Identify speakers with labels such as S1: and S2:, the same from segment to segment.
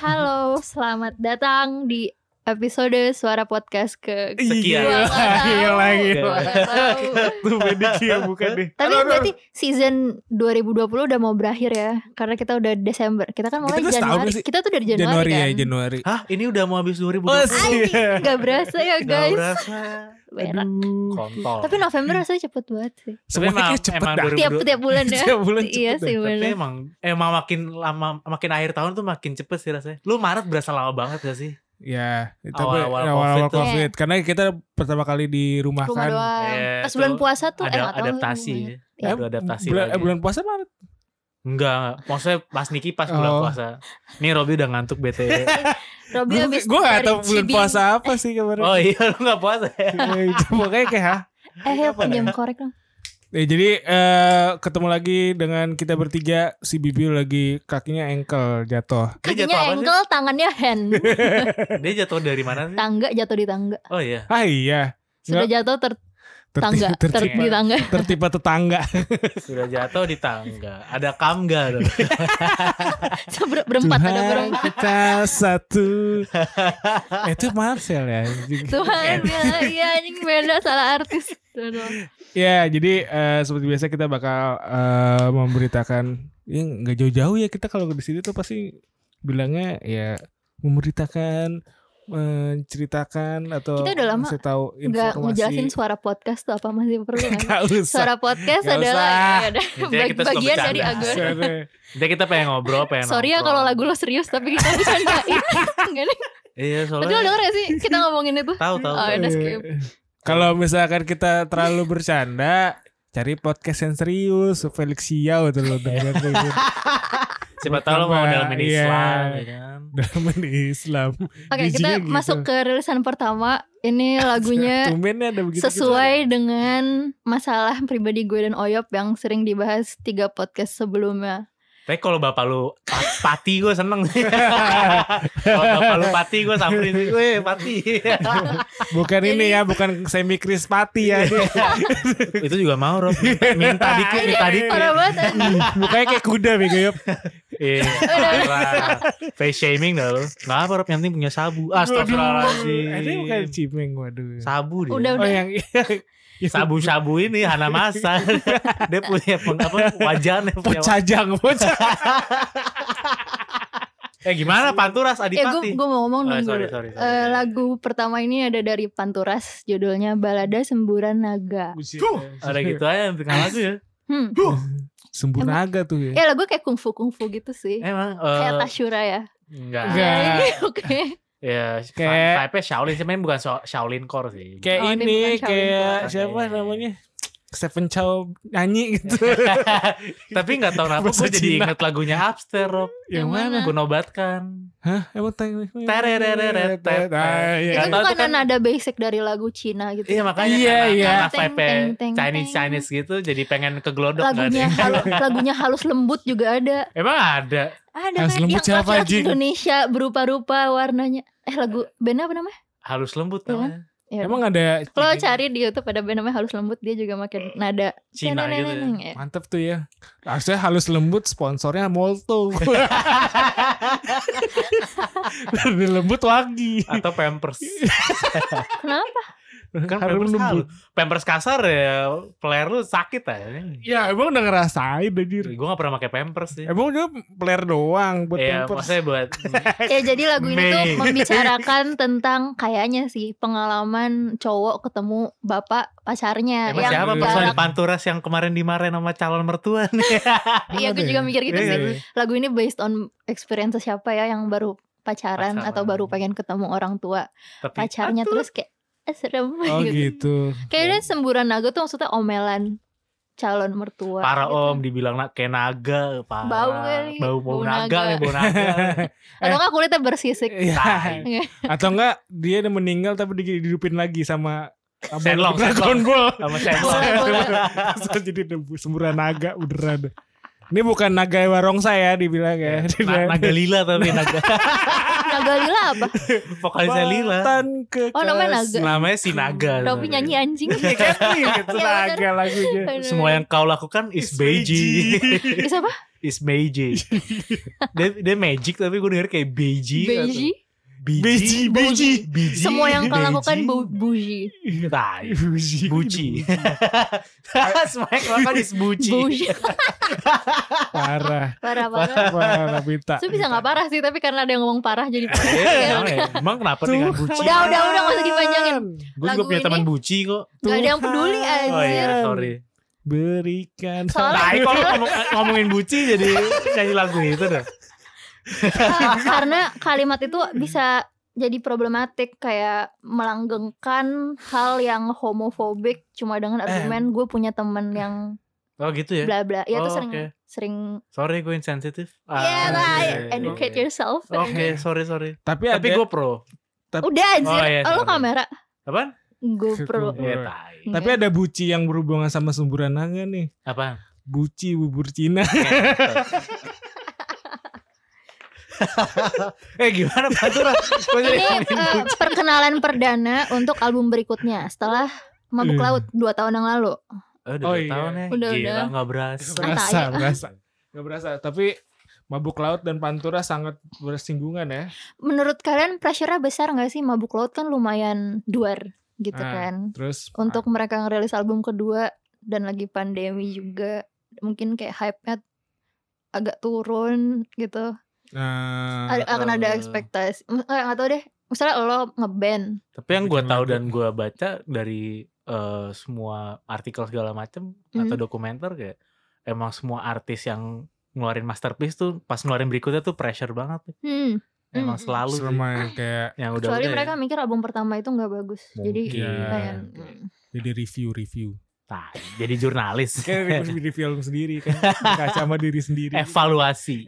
S1: Halo, selamat datang di episode Suara Podcast ke Gua
S2: Sekian. Iya,
S1: nggak tahu.
S2: gila, gila.
S1: Gua nggak tahu.
S2: Tuh prediksi ya bukan deh.
S1: Tapi
S2: Aduh, aduh,
S1: berarti season 2020 udah mau berakhir ya Karena kita udah Desember Kita kan mulai
S3: Kita kan setahun
S1: Januari
S3: nggak sih?
S1: Kita tuh dari Januari,
S3: Januari
S1: kan
S3: ya Januari.
S2: Hah, ini udah mau habis 2000.
S3: Oh, sih.
S1: Anjing, Nggak berasa ya guys
S2: berasa.
S1: Berak.
S2: Kontol.
S1: Tapi November rasanya cepet banget sih
S3: Semuanya
S2: Tapi
S3: kayaknya
S2: emang-
S3: cepet
S2: emang
S3: dah.
S2: 2020
S1: Tiap tiap bulan ya
S3: Tiap bulan
S1: Iya
S3: cepet dah.
S1: sih
S2: Tapi
S1: bener
S2: emang emang makin lama makin akhir tahun tuh makin cepet sih rasanya. Lu Maret berasa lama banget gak sih?
S3: Ya, itu
S2: Awal-awal
S3: awal-awal
S2: COVID tuh.
S3: COVID. Karena kita pertama kali di rumah
S1: Rumah
S3: kan.
S1: doang
S2: Eh,
S1: Pas bulan
S2: tuh
S1: puasa tuh eh,
S2: Ada
S1: nggak tahu gimana.
S2: adaptasi.
S1: Ya,
S2: Ada adaptasi
S3: bulan, eh,
S2: lagi.
S3: bulan puasa Maret.
S2: Enggak, enggak. maksudnya pas Niki pas bulan
S3: Oh.
S2: puasa. Nih Robi udah ngantuk bete.
S1: Robby
S3: Gue
S1: habis
S3: gue gak
S1: dari
S3: tau bulan
S1: Cibing.
S3: puasa apa sih kemarin.
S2: oh iya, lu gak puasa ya?
S3: Eh, itu Pokoknya kayak hah.
S1: Eh Hel pinjam korek dong
S3: Ya, jadi eh, ketemu lagi dengan kita bertiga. Si Bibiu lagi kakinya engkel jatuh.
S2: Dia
S1: Kakinya
S2: jatuh apa sih?
S1: ankle tangannya hand
S2: Dia jatuh dari mana sih?
S1: Tangga jatuh di tangga
S2: Oh iya.
S3: Ah iya.
S1: Sudah jatuh ter
S3: Terti-
S1: tangga ter,
S3: tertipa,
S1: Di tangga
S3: tertipa tetangga.
S2: Sudah jatuh di tangga. Ada kamga dong.
S1: Ber- Berempat ada
S3: Tuhan
S1: berempat
S3: kita satu. Eh, itu Marcel ya.
S1: Tuhan bela Iya anjing bela salah artis Tuh, doang.
S3: Ya, jadi eh, seperti biasa kita bakal eh, memberitakan ya nggak jauh-jauh ya kita kalau di sini tuh pasti bilangnya ya memberitakan menceritakan atau
S1: Kita udah lama
S3: ngasih tahu
S1: Nggak ngejelasin
S3: informasi.
S1: suara podcast tuh apa masih perlu kan?
S3: Gak usah.
S1: Suara podcast
S3: Nggak
S1: adalah
S3: usah.
S1: ya udah,
S2: Intinya
S1: bag-
S2: kita suka
S1: bagian
S2: bercanda.
S1: dari
S3: Iya,
S1: agora.
S2: Dia kita pengen ngobrol, pengen
S1: Sorry ya
S2: nongkrong.
S1: kalau lagu lo serius tapi kita bercandain. Enggak nih.
S2: Iya,
S1: Tapi lo
S2: soalnya
S1: denger gak sih kita ngomongin itu?
S2: tahu tahu.
S1: Oh,
S2: tahu.
S1: ya udah skip.
S3: Kalau misalkan kita terlalu bercanda, cari podcast yang serius, Felix Xiao tuh lo dengar gitu. tuh.
S2: Siapa tahu lo mau
S3: Bertambah,
S2: dalam ini
S3: iya.
S2: Islam, ya kan?
S3: dalam Islam.
S1: Oke, kita
S3: Bijinya gitu.
S1: masuk ke rilisan pertama. Ini lagunya
S3: Tumbennya ada begitu.
S1: sesuai dengan masalah pribadi gue dan Oyop yang sering dibahas tiga podcast sebelumnya.
S2: Tapi kalau bapak lu pa- pati gue seneng. kalau bapak lu pati gue samperin, weh pati.
S3: Bukan
S1: Jadi-
S3: ini ya, bukan semi krispati ya.
S1: Iya.
S2: Itu juga mau Rob. Minta dikit,
S1: Ini
S2: minta dikit.
S1: parah banget. eh. anjing.
S3: Mukanya kayak kuda bego yop.
S2: Iya. parah. Face shaming dah lu. Gak apa Rob, yang penting punya sabu. Astagfirullahaladzim.
S3: Ada yang bukan cimeng waduh.
S2: Sabu dia.
S1: Udah,
S3: Oh
S1: udah.
S3: yang
S2: Sabu-sabu ini Hana Masa. dia punya peng, apa wajahnya. Punya
S3: pocajang, pocajang.
S2: Eh gimana Panturas
S1: Ya gue
S2: Adipati?
S1: gue mau ngomong
S2: Oh,
S1: dong
S2: sorry,
S1: dulu.
S2: sorry, sorry.
S1: Eh, lagu pertama ini ada dari Panturas judulnya Balada Semburan Naga.
S2: Ada gitu aja yang bikin lagu ya.
S1: Hmm.
S3: Sembuh naga tuh ya.
S1: Ya lagu kayak kungfu kungfu gitu sih.
S2: Emang
S1: kayak
S2: eh
S1: Tashura ya.
S2: enggak. Iya.
S3: Enggak.
S1: Oke.
S2: Ya,
S3: Kayak-
S2: kayak type Shaolin sih, main bukan so- Shaolin core sih.
S3: Kayak
S1: Oh, ini
S3: ini,
S1: bukan Shaolin
S3: kayak
S2: Tuan.
S3: siapa
S2: Oke.
S3: namanya? Stephen Chow nyanyi gitu.
S1: Iya.
S2: Tapi nggak tahu kenapa
S3: Bahasa
S2: gue jadi
S3: Cina.
S2: inget lagunya Abster, Rob.
S1: Yang
S3: yang
S1: mana?
S3: mana?
S2: Gue nobatkan.
S3: Hah? Emang tanya?
S2: Terereret, ter-
S3: Ah, iya.
S1: Itu
S2: Nggak tahu
S1: bukan
S2: itu kan-
S1: nada basic dari lagu Cina gitu.
S2: Iya makanya
S3: Iya,
S2: karena,
S3: iya.
S2: karena vibe
S1: Teng, teng, teng,
S2: Chinese
S1: teng.
S2: Chinese gitu jadi pengen ke glodok
S1: lagunya
S2: kan.
S1: halu- lagunya halus lembut juga ada.
S2: Emang ada.
S1: Ada
S3: Halus
S1: kan
S3: lembut
S1: yang
S3: siapa,
S1: laki-laki
S3: Jing?
S1: Indonesia berupa-rupa warnanya. Eh lagu band apa namanya?
S2: Halus lembut
S1: Iya kan?
S2: namanya.
S1: Ya,
S3: Emang ada
S1: lo cari di YouTube ada band namanya halus lembut dia juga makin nada.
S2: Eh, Cina gitu ya.
S1: Neneneneng, ya.
S3: Mantep tuh ya. Harusnya halus lembut sponsornya Molto. Dari lembut wangi.
S2: Atau Pampers.
S1: Kenapa?
S2: Kan
S3: Harum
S2: Pampers
S3: lembut.
S2: halus. Pampers kasar ya player lu sakit aja.
S3: Ya emang udah ngerasain anjir.
S2: Gue gak pernah pakai Pampers sih.
S3: Emang dia player doang buat
S2: Iya,
S3: Pampers.
S2: maksudnya buat
S1: Ya jadi lagu ini tuh
S2: Mei.
S1: membicarakan tentang kayaknya sih pengalaman cowok ketemu bapak pacarnya
S2: Emang
S1: yang
S2: siapa
S3: galak.
S2: personil
S1: galak.
S2: Panturas yang kemarin dimarahin sama calon mertua nih?
S1: Iya gue juga mikir gitu
S2: Iya,
S1: sih.
S2: iya.
S1: Lagu ini based on experience siapa ya yang baru pacaran,
S2: Pacaran.
S1: atau baru pengen ketemu orang tua
S2: Tapi,
S1: pacarnya terus kayak eh, serem
S3: Oh gitu.
S1: Kayaknya semburan naga tuh maksudnya omelan calon mertua.
S2: Para
S1: gitu.
S2: om dibilang nak kayak naga, parah.
S1: Bau kali,
S2: Bau,
S1: bau
S2: bau
S1: naga.
S2: naga nih, bau naga. Eh.
S1: Atau nggak kulitnya bersisik.
S3: Iya. Atau enggak dia udah meninggal tapi dihidupin lagi sama sama
S2: Shenlong,
S3: Dragon Ball.
S2: Sama
S1: Bola,
S2: Shenlong.
S1: bola.
S3: Terus jadi debu semburan naga beneran. Ini bukan naga warong saya dibilang ya.
S2: Na- Iya. naga lila tapi naga
S1: Naga Lila apa?
S2: vokalisnya lila
S1: Oh, namanya Naga.
S3: Iya,
S2: namanya si naga
S1: Tapi nyanyi ya? anjing.
S3: Itu
S1: Iya, bener.
S3: kan? naga lagunya.
S2: semua yang kau lakukan
S3: Is
S2: is beiji
S1: Is apa?
S2: is beiji dia, dia magic tapi gue denger kayak beiji atau-
S1: Beiji.
S3: Beiji, beiji.
S2: Beiji,
S1: Semua yang kau
S2: beiji.
S1: lakukan bu- buji.
S2: Tai.
S3: Buji.
S2: buci semua yang kau lakukan is buci
S1: Buji.
S3: Parah.
S1: Parah-parah.
S3: Parah minta.
S1: Itu bisa nggak parah sih, tapi karena ada yang ngomong parah jadi parah.
S2: Eh,
S1: Kayak
S2: emang ya? emang kenapa
S3: Tuh.
S2: dengan buci
S1: Udah, udah, udah, nggak usah dipanjangin.
S2: gue juga
S1: Lagu
S2: punya
S1: ini-
S2: teman buci kok
S1: Nggak ada yang peduli
S3: Tuhan.
S2: oh
S1: anjir.
S2: iya sorry
S3: Berikan.
S1: Soalnya-
S2: Tai kalau eh, ngomong, ngomongin buci jadi nyanyi lagu itu dah
S1: Ah, karena kalimat itu bisa jadi problematik kayak melanggengkan hal yang homofobik cuma
S2: Eh.
S1: dengan argumen gue punya temen yang
S2: oh gitu ya
S1: bla bla ya itu
S2: Oh,
S1: sering
S2: oke.
S1: sering
S2: sorry gue insensitif
S1: ya
S2: Ah,
S1: gitu. lah
S2: iya, iya,
S1: educate
S2: iya.
S1: yourself
S2: oke sorry sorry
S3: Tapi
S2: tapi
S3: ada
S2: gue pro
S1: udah anjir
S2: Oh, iya,
S1: oh, lu
S2: sorry.
S1: kamera
S2: apaan
S1: GoPro
S3: Pro.
S2: ya tai
S3: tapi ada buci yang berhubungan sama sumburan naga nih.
S2: apaan
S3: Buci bubur Cina.
S2: eh gimana Pantura Kok
S1: ini
S2: jadi
S1: eh, perkenalan perdana untuk album berikutnya setelah Mabuk
S3: Iya.
S2: Hmm.
S1: Laut dua tahun yang lalu
S2: Oh, udah
S3: Oh,
S2: dua
S3: iya.
S2: tahun ya
S1: Udah,
S2: Gila
S1: udah.
S2: gak berasa
S3: berasa,
S1: Santai.
S3: berasa. Gak berasa. Tapi mabuk laut dan pantura sangat bersinggungan ya.
S1: menurut kalian pressure-nya besar nggak sih Mabuk Laut kan lumayan duar gitu
S2: Nah,
S3: Ah.
S1: kan
S3: Terus
S1: untuk
S2: ah.
S1: mereka ngerilis album kedua dan lagi pandemi juga mungkin kayak hype-nya agak turun gitu
S3: eh,
S1: Ada- akan ada
S2: eh.
S1: ekspektasi M- eh, nggak tahu deh misalnya lo ngeband
S2: Tapi yang gue
S3: Bikin
S2: tahu
S3: lagu.
S2: dan gue baca dari eh, semua artikel segala macem atau
S1: Mhm.
S2: dokumenter kayak emang semua artis yang ngeluarin masterpiece tuh pas ngeluarin berikutnya tuh pressure banget.
S1: hmm.
S2: Emang
S1: Mhm.
S2: selalu sih.
S3: serem ya, kayak
S2: yang udah
S1: kecuali
S2: udah ya.
S1: mereka mikir album pertama itu nggak bagus jadi
S2: Mungkin. Iya,
S1: kayak
S2: Mungkin.
S1: mm.
S3: jadi review-review.
S2: jadi jurnalis.
S3: Kayak review-review album sendiri kan. Kaca sama diri sendiri.
S2: Evaluasi.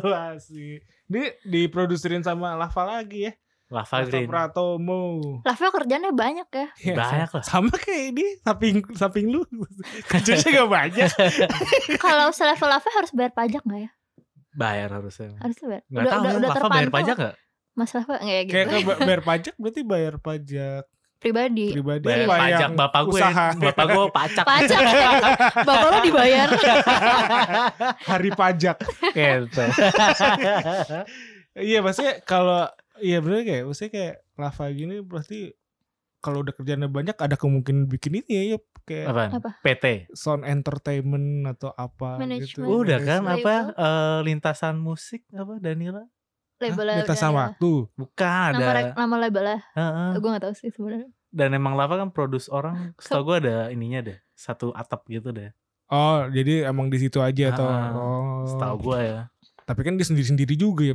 S3: Evaluasi. Ini diproduserin sama Lava lagi ya.
S2: Lava
S3: Lava
S2: Green.
S3: Pratomo.
S1: Lavio kerjanya banyak ya
S3: Ya,
S2: Banyak lah.
S3: Sama kayak ini, samping samping lu. Kerjanya gak banyak.
S1: kalau selevel Lava harus bayar pajak nggak ya
S2: Bayar harusnya.
S1: harus bayar
S2: Gak tahu ya, Lava bayar pajak gak?
S3: Iya,
S1: mas Lava nggak ya gitu
S3: kayak ke- bayar pajak berarti bayar pajak
S1: pribadi
S3: pribadi
S2: Bayar
S3: apa
S2: pajak
S3: yang
S2: bapak gue.
S3: iya, usaha.
S2: Bapak gue pajak.
S1: pajak bapak lo dibayar
S3: hari pajak.
S2: Gitu.
S3: Iya maksudnya kalau iya bener kayak maksudnya kayak lava gini berarti kalau udah kerjanya banyak ada kemungkinan bikin ini ya Yop. kayak
S2: Apaan?
S1: Apa?
S2: PT.
S3: sound entertainment atau apa gitu.
S1: Management.
S2: Udah kan
S1: Label.
S2: apa eh, lintasan musik apa Danila?
S1: labelnya
S3: Kita sama waktu.
S2: Bukan
S1: nama,
S2: ada.
S1: re- nama label lah
S2: Heeh.
S1: gue nggak tahu sih sebenarnya
S2: Dan emang Lava kan produce orang, setahu gue ada ininya deh, satu atap gitu deh,
S3: Oh, jadi emang di situ aja atau
S2: Ah,
S3: oh.
S2: setahu gue ya.
S3: Tapi kan dia sendiri-sendiri juga ya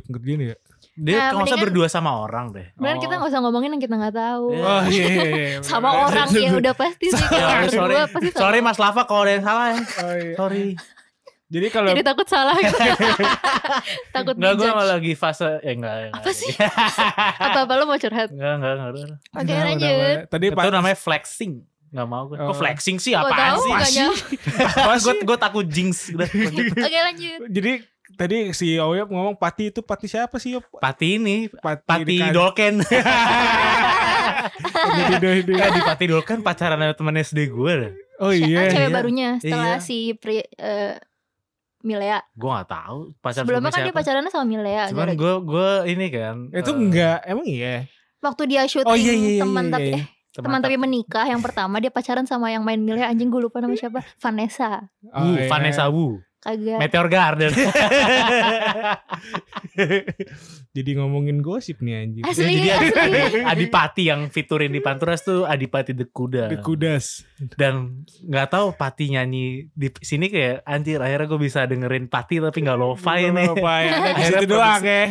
S1: Nah,
S3: pengerjaan ya.
S2: Dia kalau nggak salah
S1: mendingan-
S2: berdua sama orang deh.
S1: Beneran kita
S3: Oh.
S1: nggak usah ngomongin yang kita nggak tahu.
S2: Iya.
S3: Oh iya iya. iya.
S1: Sama orang ya udah pasti sih.
S2: Ya,
S1: Kita
S2: sorry,
S1: Iya, berdua pasti sama.
S2: sorry Mas Lava kalau ada yang salah ya.
S3: Oh, iya.
S2: Sorry.
S3: Jadi kalau
S1: Jadi takut salah. takut
S2: Enggak gue
S1: dijudge.
S2: lagi fase ya enggak. enggak.
S1: Apa sih? Apa apa lo mau curhat?
S2: Enggak, enggak, enggak.
S1: Oke
S2: enggak.
S3: Udah, Nah, udah,
S1: lanjut.
S3: udah. Tadi
S2: Itu namanya flexing. Enggak mau gue.
S3: Oh.
S2: Kok flexing sih
S1: Gua
S2: apaan
S1: tahu,
S2: sih?
S1: nggak nyam-
S2: Apa gue gue takut jinx udah. gitu. lanjut.
S1: Oke lanjut.
S3: jadi tadi si Oyop ngomong pati itu pati siapa sih Yop?
S2: Pati ini
S3: Pati,
S2: Pati
S3: di-
S2: Dolken.
S3: di- di- di-
S2: Eh di Pati Dolken pacaran sama temen SD gue deh.
S1: Ah,
S3: Oh iya.
S1: cewek
S2: iya.
S1: barunya setelah
S2: Iya.
S1: si Pri, eh, Milea.
S2: Gue gak tahu pacaran
S1: Sebelumnya kan dia
S2: siapa.
S1: pacarannya sama Milea.
S2: Cuman
S1: gara-
S2: gue gue ini kan.
S3: Itu
S2: eh,
S3: enggak, emang iya.
S1: Waktu dia syuting
S3: Oh iya iya iya.
S1: teman
S3: iya,
S1: tapi
S3: iya.
S1: eh, teman tapi menikah yang pertama dia pacaran sama yang main Milea anjing gue lupa nama siapa Vanessa
S2: Wu,
S3: iya.
S2: Vanessa Wu,
S1: kagak
S2: Meteor Garden.
S3: Jadi ngomongin gosip nih anjing.
S1: Asli,
S2: Iya, Jadi
S1: asli.
S2: Adi- Adipati yang fiturin di Panturas tuh Adipati the Kuda.
S3: Di kudas.
S2: Dan nggak tahu Pati nyanyi di sini kayak anjir akhirnya gue bisa dengerin Pati tapi nggak lo-fi
S3: Gua
S2: nih.
S3: lupa ya. Di
S2: Akhirnya
S3: situ
S2: produksi-
S3: doang ya.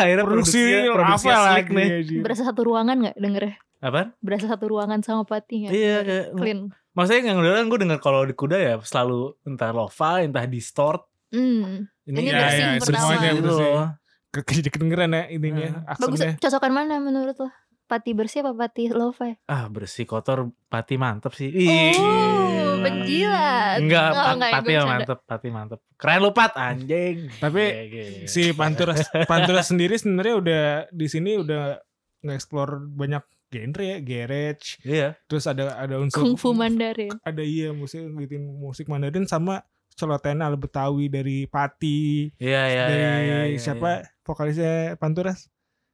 S2: akhirnya
S3: Produksi
S2: produksinya,
S3: apa
S2: produksinya slick
S3: lagi
S2: nih.
S3: anjing.
S1: berasa satu ruangan nggak denger ya?
S2: Apa?
S1: berasa satu ruangan sama Pati nggak?
S2: Iya, kayak,
S1: clean
S2: maksudnya yang dengerin gue denger kalau di kuda ya selalu entah lo-fi, entah distort.
S1: Hmm. Ini
S3: Iya,
S2: ya,
S1: bersih
S2: ya,
S1: pertama.
S2: semuanya
S3: Gitu
S2: bersih.
S3: loh. Ke- ke- Kedengeran ya ininya
S1: Bagus
S3: aksennya.
S1: cocokan mana menurut lo? pati bersih apa pati love
S2: ah bersih kotor pati mantep sih
S1: Oh,
S2: Ih.
S1: penjilat.
S2: Enggak,
S1: Oh,
S2: pat-
S1: enggak ya,
S2: pati
S1: gue
S2: yang
S1: bercanda.
S2: mantep, pati mantep. Keren lu pat, anjing.
S3: Tapi
S2: Iya, iya, iya.
S3: si Panturas Panturas sendiri sebenarnya udah di sini udah nge-explore banyak genre ya, garage,
S2: Iya.
S3: terus ada ada unsur
S1: Kung Fu Mandarin.
S2: Gitu.
S3: ada iya musik ngikutin musik Mandarin sama celotehan ala Betawi dari Pati,
S2: Iya, iya,
S3: dari
S2: iya, iya, iya.
S3: siapa vokalisnya Panturas?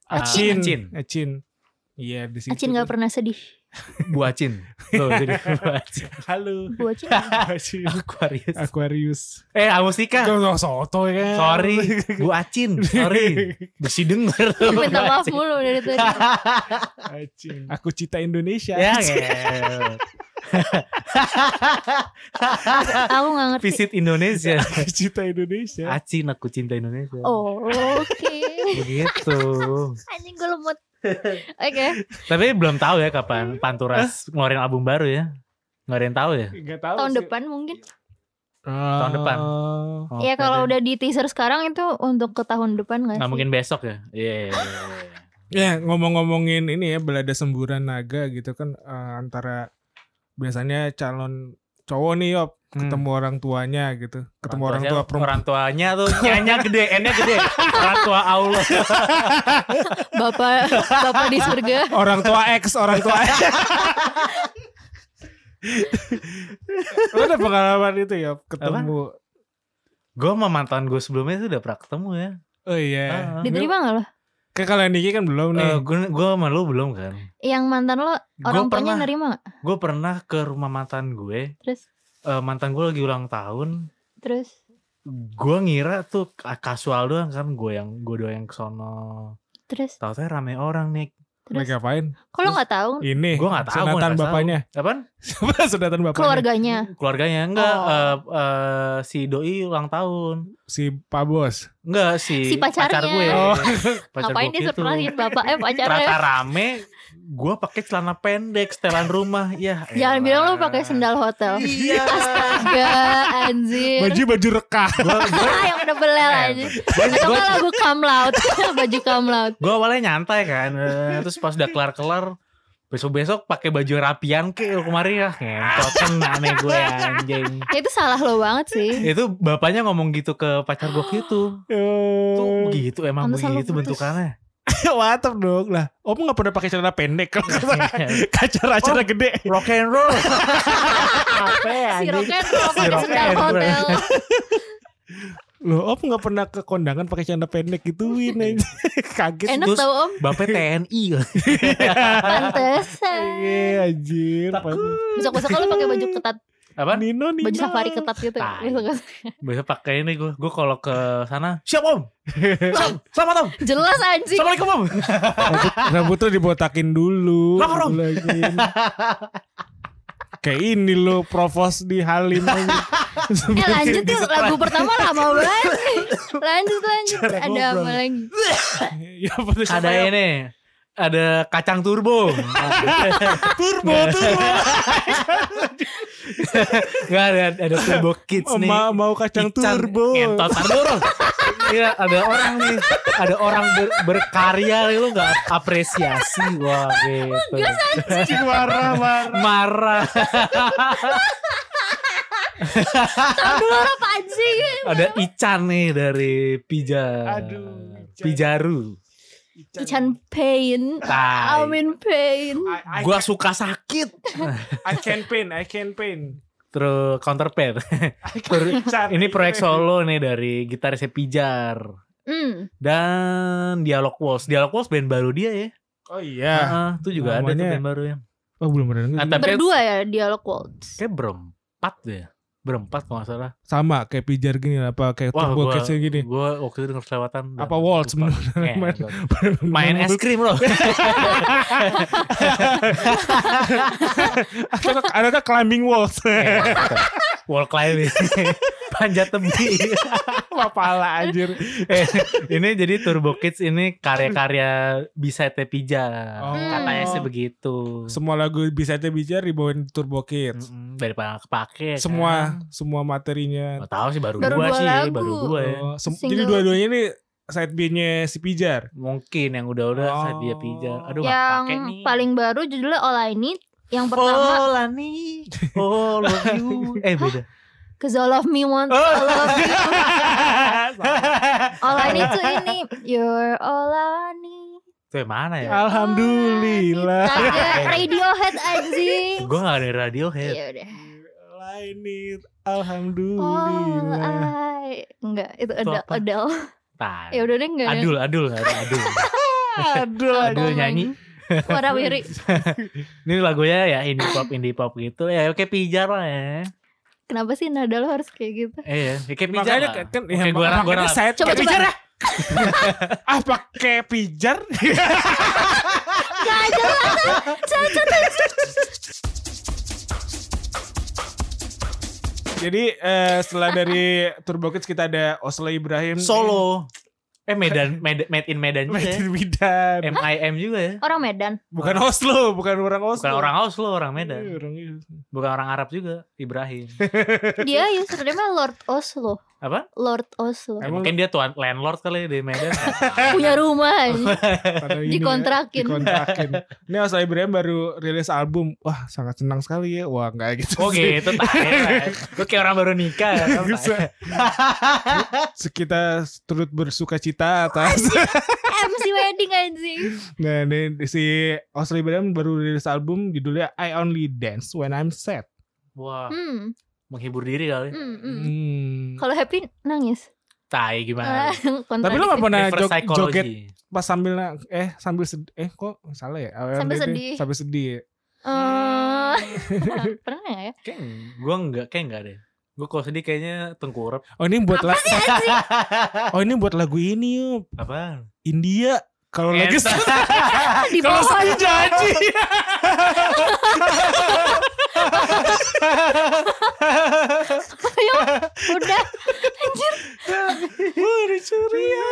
S2: Acin. Ah, Acin.
S3: Acin. Iya di situ.
S1: Acin gak pernah sedih.
S2: Bu Acin. Tuh, jadi Bu Acin.
S3: Halo.
S1: Bu Acin.
S3: Acin.
S2: Aquarius.
S3: Aquarius.
S2: Eh, Amustika.
S3: Jangan soto ya. kan?
S2: Sorry, Bu Acin. Sorry. Besi denger. lu, Bu
S1: Minta maaf
S2: Acin.
S1: mulu dari tadi.
S3: Acin. Aku cita Indonesia.
S2: Ya, ngel.
S1: Aku gak ngerti.
S2: Visit Indonesia.
S3: Aku cita Indonesia.
S2: Acin aku cinta Indonesia.
S1: Oh, oke.
S2: Begitu.
S1: Anjing gue lemot. Oke.
S2: Tapi belum tahu ya kapan Panturas ngeluarin album baru ya. Nggak ada yang tahu ya.
S3: Gak tahu
S1: Tahun
S3: sih.
S1: depan mungkin.
S3: Tahun
S2: depan. Oh,
S1: Ya kalau udah di teaser sekarang itu untuk ke tahun depan gak sih?
S2: Nggak mungkin besok ya. Iya. iya, iya, iya.
S3: Ya ngomong-ngomongin ini ya belada semburan naga gitu kan eh, antara biasanya calon cowok nih yop ketemu orang tuanya gitu ketemu orang, tua
S2: tuanya-
S3: perempuan
S2: Hmm. Orang tuanya tuh nyanya gede, N-nya gede. Orang tua Allah.
S1: Bapak, Bapak di surga.
S3: orang tua X orang tua X lo ada pengalaman itu ya ketemu
S2: Gue sama mantan gue sebelumnya tuh udah pernah ketemu ya.
S3: oh iya
S2: Ah.
S1: Diterima gak lo?
S3: Kayak kalau yang Niki kan belum nih
S1: Oh.
S2: gue gue Eh, sama lu belum kan?
S1: Yang mantan lo,
S2: Gue
S1: orang tuanya
S2: pernah
S1: nerima gak?
S2: gue pernah ke rumah mantan gue.
S1: Terus,
S2: Eh, mantan gue lagi ulang tahun.
S1: terus.
S2: Gue ngira tuh ka- kasual doang kan gue yang gue doang yang kesono.
S1: Terus,
S2: Tahu-tahu rame orang nih.
S3: lagi
S1: terus.
S3: ngapain
S1: Kok lo gak tahu
S3: ini
S2: Gua nggak tahu, gua
S3: sunatan
S2: nggak tahu.
S3: bapaknya
S2: Apaan?
S3: sunatan bapaknya
S1: keluarganya?
S2: Keluarganya enggak
S1: Oh.
S2: eh, eh, si doi ulang tahun.
S3: si Pak Bos
S2: Enggak si,
S1: Si pacarnya.
S2: pacar gue.
S3: Oh.
S2: Pacar
S1: Ngapain
S2: gue gitu.
S1: disurprisein bapak eh pacarnya?
S2: Rata rame gue pakai celana pendek setelan rumah ya
S1: Jangan
S2: elah.
S1: bilang lo pakai sendal hotel.
S2: iya
S1: Astaga, anjir.
S3: baju baju rekah
S1: Ah, yang udah belel
S2: Iya, eh,
S1: aja. Atau
S2: gue
S1: nggak lagu kamlaut, baju kamlaut.
S2: gue awalnya nyantai kan eh, terus pas udah kelar kelar besok besok pakai baju rapian ke lu kemarin ya ngentot kena nih gue anjing
S1: Ya, Itu salah lo banget sih.
S2: itu bapaknya ngomong gitu ke pacar gue gitu tuh begitu emang
S1: Pantesan lu
S2: begitu
S1: putus.
S2: bentukannya
S3: Watap dong lah. Om nggak pernah pakai celana pendek kalau
S2: Iya.
S3: acara-acara gede.
S2: rock and roll apa ya
S1: Si
S2: anjing?
S1: Roket lo pakai
S2: Roket,
S1: sendal
S2: bro.
S1: hotel.
S3: Loh, Om nggak pernah ke kondangan pakai celana pendek gituin aja. Kaget.
S1: Enak
S2: Terus-
S1: tau om,
S2: bapak TNI
S1: pantesan.
S3: Iya, anjir.
S1: Besok-besok kan lo pakai baju ketat,
S2: apa
S3: Nino nih.
S1: baju safari ketat gitu.
S2: Tai.
S1: Besok-besok.
S2: Biasa pakai ini gue. Gue kalau ke sana, siap om. Siap. Selamat om.
S1: Jelas anjing.
S2: Assalamualaikum om.
S3: Rambut, rambutnya dibotakin dulu.
S2: Lapor, Om.
S3: Dibotakin. Kayak ini lo provos di Halim.
S1: Eh lanjut
S2: gitu,
S1: yuk lagu pertama lama banget. nih. Lanjut lanjut.
S2: Cara
S1: Ada apa
S2: ngobrol.
S1: lagi?
S3: ya, apa tuh, siapa
S2: Ada
S3: ya?
S2: ini. Ada kacang turbo.
S3: turbo, turbo.
S2: Gak ada ada turbo kids nih.
S3: Mau, mau kacang
S2: Ican,
S3: turbo.
S2: Ngentot Tar dulu, Ron. Iya ada orang nih. Ada orang ber- berkarya nih, lu gak apresiasi. Wah gitu.
S3: Anjing, Marah, marah.
S2: Marah.
S1: Tahu dulu lo apa anjing.
S2: Ada Ican nih dari Pija.
S3: Aduh, Ican.
S2: Pijaru.
S1: Ican pain.
S2: Tai.
S1: I'm in pain.
S3: I, I,
S2: Gua suka sakit.
S3: I can paint, I can paint.
S2: Terus counterpart.
S3: I can Ican,
S2: Ini
S3: I
S2: proyek
S3: can
S2: solo nih dari gitarisnya Pijar
S1: Hmm.
S2: dan Dialog Walls. Dialog Walls band baru dia ya.
S3: paint. Oh iya.
S2: Heeh, itu juga ada tuh
S3: namanya-
S2: band baru ya.
S3: Oh belum pernah denger.
S2: Ah, tapi
S1: Berdua ya dialog waltz.
S2: kayak berempat deh. Berempat kalau nggak salah.
S3: Sama kayak pijar gini lah, apa kayak
S2: Wah,
S3: turbo
S2: gua,
S3: kids gini.
S2: gua waktu itu denger kelewatan. dan
S3: Iya. Apa waltz
S2: lupa.
S3: sebenarnya?
S2: Eh, enggak. Main es krim loh.
S3: Atau ada kan climbing walls.
S2: Wall climbing. Panjat tebing.
S3: Apa pala anjir.
S2: Eh, ini jadi Turbo Kids ini karya-karya bisa Pijar.
S3: Oh.
S2: Katanya sih begitu.
S3: Hmm. Semua lagu bisa aja bijar dibawain turbo kids.
S2: Mm-mm, daripada kepake.
S3: Semua
S2: Hmm, kan.
S3: semua materinya.
S2: Gak tahu sih baru,
S1: Baru
S2: dua,
S1: dua
S2: sih,
S1: lagu.
S2: baru dua ya.
S3: Oh, sem-
S1: Single.
S3: jadi dua-duanya ini side B-nya si Pijar.
S2: Mungkin yang udah-udah
S3: Oh.
S2: saat dia pijar. Aduh nggak
S1: yang
S2: pakai nih.
S1: paling baru judulnya All I Need yang pertama
S2: Oh Lani, oh love you. Eh beda.
S1: Cause all of me want all of you All I need tuh ini You're all I need
S2: Tuh yang mana ya?
S3: Alhamdulillah.
S1: Kaga Radiohead anjing
S2: Gue gak ada Radiohead.
S3: Iya.
S1: Ya udah
S3: Lainit.
S1: All
S3: Alhamdulillah.
S1: I Oh, Enggak itu
S2: Iya. Itu
S1: Adele
S2: apa?
S1: Adele
S2: Tan.
S1: Ya udah deh enggak ada.
S2: Adul, adul, ada adul.
S3: Aduh.
S2: Adul
S1: Oh my
S2: nyanyi.
S1: Suara wiri
S2: Ini lagunya ya indie pop, indie pop gitu. Ya oke pijar lah ya.
S1: Kenapa sih nada lo harus kayak gitu
S2: Eh, ya, oke pijar
S3: Makanya
S2: lah.
S3: kan
S2: Oke, gua rap, gua
S3: makanya
S2: rap.
S3: saya
S1: Coba,
S3: pakai
S1: coba.
S3: pijar ya. ah pakai pijar?
S1: Gak jelas
S3: Jadi eh, setelah dari Turbo Kids kita ada Oslo Ibrahim.
S2: Solo. Eh Medan, Medan, Made in Medan juga ya.
S3: Medan Bidan.
S2: MIM juga ya.
S1: Orang Medan
S3: Bukan Oslo, bukan orang Oslo.
S2: Bukan orang Oslo, orang Medan.
S3: Iya, orang Oslo.
S2: Bukan orang Arab juga, Ibrahim.
S1: Dia username Lord Oslo
S2: Apa?
S1: Lord Oslo
S3: Emang-
S2: Mungkin dia tuan landlord kali di Medan. kan. Eh,
S1: Punya
S2: nah.
S1: rumah anjing
S2: Oh,
S3: Pada ini ya,
S1: Dikontrakin.
S3: dikontrakin. Ini Oslo Ibrahim baru rilis album. Wah, sangat senang sekali ya. Wah, enggak gitu.
S2: Oh
S3: sih.
S2: gitu, tai. Lu kayak orang baru nikah. ya, kan, tai.
S3: Se- se- kita turut bersuka cita atas
S1: MC wedding anjing
S3: nah ini si Oslo Ibrahim baru rilis album judulnya I Only Dance When I'm Sad
S2: Wah,
S1: hmm,
S2: menghibur diri kali.
S1: hmm, hmm.
S3: Hmm.
S1: Kalau happy nangis
S2: Tai gimana?
S3: tapi lo
S1: Kontradiksi.
S3: gak pernah Nah,
S2: Reverse
S3: jog- joget
S2: psychology.
S3: pas sambil na- eh sambil sedih eh kok salah ya I
S1: Sambil
S3: Only Dance-
S1: sedih.
S3: sambil sedih ya.
S1: Eh, Pernah gak ya
S2: Kayak gue enggak, kayak enggak deh. Gue kalau sedih kayaknya tengkurap.
S3: oh ini buat lagu oh ini buat lagu ini yuk
S2: Apa?
S3: India kalau lagi
S2: Iya, Entah.
S1: Di
S3: kalau
S1: bawah
S3: sedih janji
S1: Udah
S3: Wah, dicuri ya.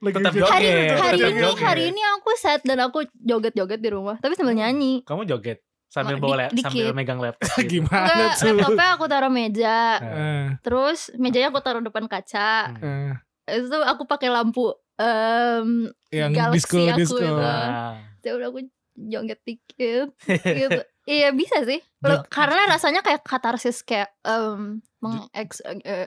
S3: Lagi
S2: Iya. Tetap
S3: joget.
S1: hari,
S2: Oke,
S1: hari
S2: tetap
S1: ini
S2: joget.
S1: hari ini aku sad dan aku joget-joget di rumah tapi sambil nyanyi
S2: Kamu joget sambil
S1: Ma-
S2: bawa
S1: Oh, di-
S2: lap- sambil
S1: dikit.
S2: megang laptop. gitu.
S3: Gimana
S1: enggak
S3: tuh?
S1: laptopnya aku taruh meja
S3: Eh,
S1: terus mejanya aku taruh depan kaca
S3: eh,
S1: Habis itu aku pakai lampu em
S3: yang
S1: Galaxy
S3: disco
S1: aku
S3: disco.
S1: itu.
S2: Nah,
S1: ya udah aku joget dikit gitu iya bisa sih Lo- karena rasanya kayak katarsis kayak em mengeks eh,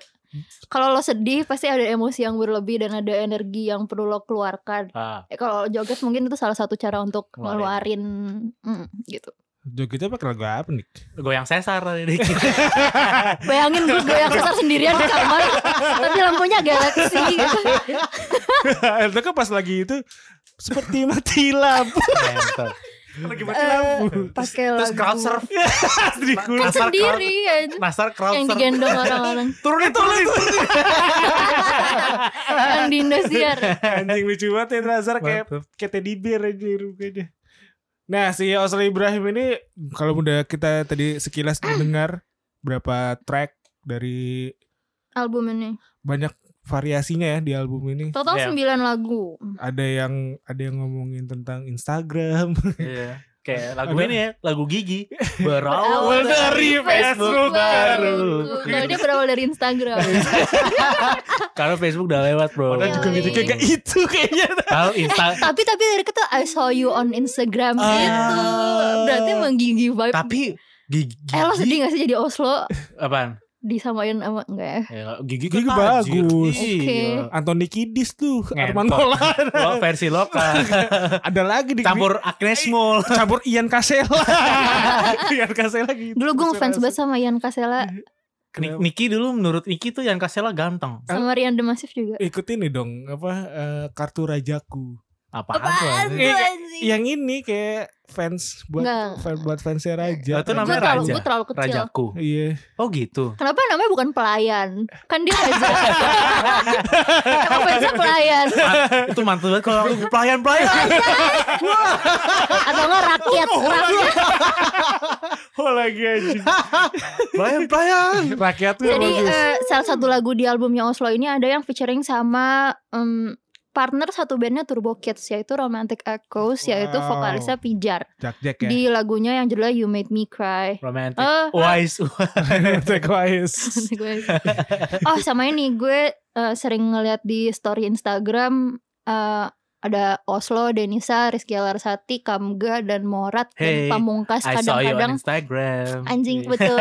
S1: kalau lo sedih pasti ada emosi yang berlebih dan ada energi yang perlu lo keluarkan
S2: ah,
S1: Eh, kalau joget mungkin itu salah satu cara untuk
S2: Ngeluarin.
S1: ngeluarin mm, gitu
S3: Jogetnya pakai lagu apa nih?
S2: goyang sesar tadi dikit.
S1: bayangin gue goyang sesar sendirian di kamar tapi lampunya galaksi gitu.
S3: itu kan pas lagi itu seperti mati lampu.
S2: Mental.
S3: lagi mati lampu.
S1: Eh, pakai
S2: Terus
S1: lagu.
S2: crowd surf.
S3: Di kulit.
S1: kan
S2: Nasar
S1: sendiri kan
S2: Nasar crowd
S1: yang
S2: surf.
S1: digendong orang-orang
S2: Turunin, turunin. turunin.
S1: yang Kan di Indosiar
S3: Anjing lucu banget ya Nazar kayak kayak teddy bear aja rupanya. Nah si Oslo Ibrahim ini kalau udah kita tadi sekilas mendengar berapa track dari
S1: album ini
S3: banyak variasinya ya di album ini.
S1: total
S2: Iya.
S1: 9 lagu
S3: Ada yang ada yang ngomongin tentang Instagram,
S2: Iya. Kayak lagu
S3: Ada-
S2: ini ya, lagu gigi.
S1: Berawal
S2: Berawal dari Facebook baru. Iya.
S1: Kalau Nah, dia berawal dari Instagram
S2: Karena Facebook udah lewat, Bro. Iya.
S3: Padahal juga
S1: Yoi.
S3: ngetiknya kayak itu kayaknya.
S2: Tahu Insta
S1: tapi tapi dari kata I saw you on Instagram
S3: Ah.
S1: gitu berarti emang gigi vibe
S2: tapi gigi,
S1: eh lo
S2: gigi-
S1: sedih gak sih jadi Oslo
S2: apaan?
S1: disamain sama enggak ya
S2: Ya, gigi
S3: Gigi
S2: kan
S3: bagus.
S2: tajir.
S1: Oke.
S2: Iya.
S3: Anthony Kiddis tuh,
S2: Ngentot.
S3: Arman Maulana.
S2: Lo versi lokal.
S3: Ada lagi di
S2: Campur Agnes Mo.
S3: campur Ian Kasela. Ian Kasela gitu.
S1: dulu gue ngefans banget sama Ian Kasela
S2: Ni- Niki dulu menurut Niki tuh yang Kasela ganteng.
S1: sama Rian Demasif juga
S3: Ikut ini dong, apa eh, kartu rajaku.
S2: Apaan tuh? anjing?
S3: Iya,
S1: anjing?
S3: Yang ini kayak fans buat
S1: Nggak.
S3: fan- buat fansnya Raja.
S2: Nah, itu
S1: Gue
S2: namanya
S1: terlalu,
S2: Raja.
S1: gue terlalu kecil.
S2: Rajaku.
S3: Iya.
S2: Oh gitu.
S1: Kenapa namanya bukan pelayan? Kan dia raja. Kenapa fansnya pelayan?
S2: itu mantul banget kalau aku pelayan-pelayan.
S1: Atau enggak rakyat? rakyat.
S3: Oh lagi anjing.
S2: Pelayan-pelayan.
S3: Rakyat tuh
S1: Jadi
S3: bagus.
S1: eh, salah satu lagu di albumnya Oslo ini ada yang featuring sama em, partner satu bandnya Turbo Kids yaitu Romantic Echoes yaitu
S3: Wow.
S1: vokalisnya Pijar
S3: Jack Jack ya.
S1: di lagunya yang judulnya You Made Me Cry.
S2: Romantic.
S1: Eh,
S2: Wise.
S3: Jack Wise.
S1: Gue- oh sama ini gue eh, sering ngeliat di story Instagram eh, ada Oslo, Denisa, Rizky Alarsati, Kamga dan Morat
S2: Hey,
S1: dan Pamungkas
S2: I saw you on
S1: kadang-kadang
S2: Instagram. Iya.
S1: anjing betul.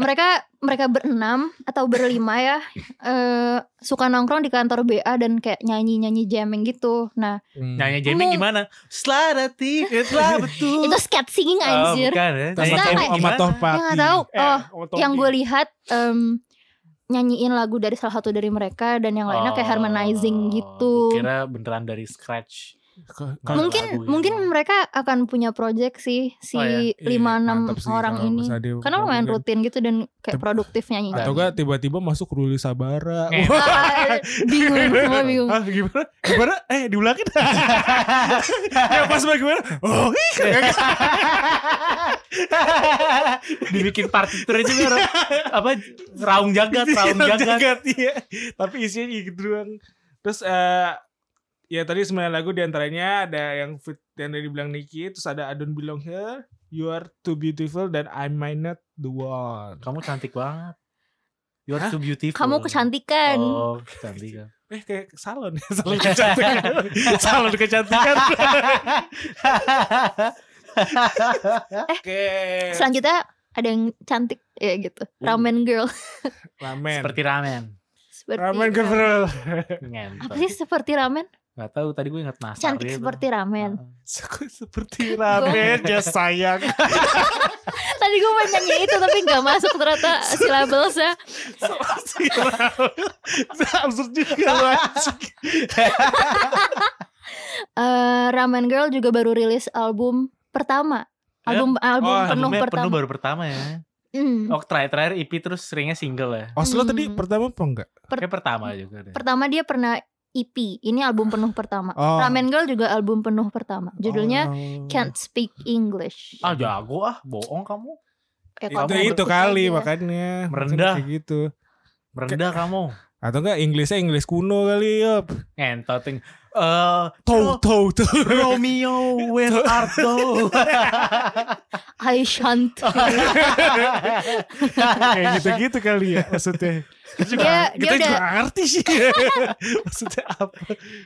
S1: mereka mereka berenam atau berlima ya eh, suka nongkrong di kantor BA dan kayak nyanyi-nyanyi jamming gitu. Nah,
S3: Hmm.
S2: Nyanyi jamming
S1: Ngomong.
S2: gimana? Selaratif, telah betul.
S1: itu skate singing
S2: Oh,
S1: anjir.
S2: bukan ya. Nyanyi
S1: Sama
S2: jamming
S1: kayak
S2: gimana?
S1: Yang nggak tahu.
S2: Eh,
S1: Oh, yang gue lihat em, nyanyiin lagu dari salah satu dari mereka dan yang lainnya kayak
S2: Oh,
S1: harmonizing
S2: gua
S1: gitu.
S2: Kira beneran dari scratch. Kalau
S1: Mungkin
S2: lagu gitu.
S1: mungkin mereka akan punya project sih si
S2: Oh, iya.
S1: lima enam orang ini. Karena lumayan kan? rutin gitu dan kayak
S3: Tapi-
S1: produktif nyanyinya.
S3: Atau enggak tiba-tiba masuk Ruli Sabara.
S2: Eh,
S3: Wah,
S1: Ah, bingung semua bingung.
S3: ah, gimana? Gimana? Eh, diulangin. ya pas bagaimana? Oh, ih,
S2: Dibikin partitur aja Bro. apa raung jagat, raung jagat.
S3: gitu ya, iya. Tapi isinya gitu doang. Terus eh ya tadi sembilan lagu diantaranya ada yang fit yang dari bilang Niki, terus ada I Don't Belong Here, You Are Too Beautiful dan I Might Not the One.
S2: Kamu cantik banget. You are
S3: Hah?
S2: too beautiful.
S1: Kamu kecantikan.
S2: iya. Oh, kecantikan.
S3: Eh kayak salon ya, salon kecantikan. salon kecantikan. Oke.
S1: Selanjutnya ada yang cantik ya gitu. Ramen girl.
S3: Ramen.
S2: Seperti ramen.
S1: seperti
S3: Ramen Gabriel.
S1: Apa sih seperti ramen?
S2: Gak tahu tadi gue inget nasar
S1: Cantik
S2: dia tuh.
S1: seperti ramen.
S2: Ah.
S3: Seperti ramen ya sayang.
S1: Tadi gue mau nyanyi itu tapi nggak masuk ternyata syllablesnya.
S3: Seperti ramen. Absurd juga. lu, anjing.
S1: Eh, ramen girl juga baru rilis album pertama.
S2: Ya?
S1: Album album
S3: Oh,
S1: penuh
S2: Albumnya
S1: pertama.
S2: penuh baru pertama ya.
S1: Mm,
S2: Oh terakhir terakhir EP terus seringnya single ya.
S3: Oslo
S1: Hmm.
S3: Oh, tadi pertama apa enggak?
S1: Per-
S2: Kayak pertama juga
S3: Iya.
S2: deh.
S1: Pertama dia pernah EP. Ini album penuh pertama.
S3: Oh.
S1: Ramen girl juga album penuh pertama. Judulnya
S3: Oh.
S1: Can't Speak English.
S2: Ah jago ah, bohong kamu.
S1: Ya, kalau
S3: itu
S1: mau
S3: itu
S1: berpikir
S3: kali
S1: aja.
S3: makanya
S2: Merendah.
S3: Kayak gitu
S2: Merendah kamu.
S3: atau enggak Inggrisnya Inggris kuno kali ya. yop
S2: Ngentoting. Eh,
S1: Oh.
S3: tau tau tau
S2: Romeo with Arto.
S1: I shan't.
S3: kayak gitu gitu kali ya maksudnya
S1: Dia- dia
S3: kita juga
S1: udah-
S3: nggak ngerti sih maksudnya apa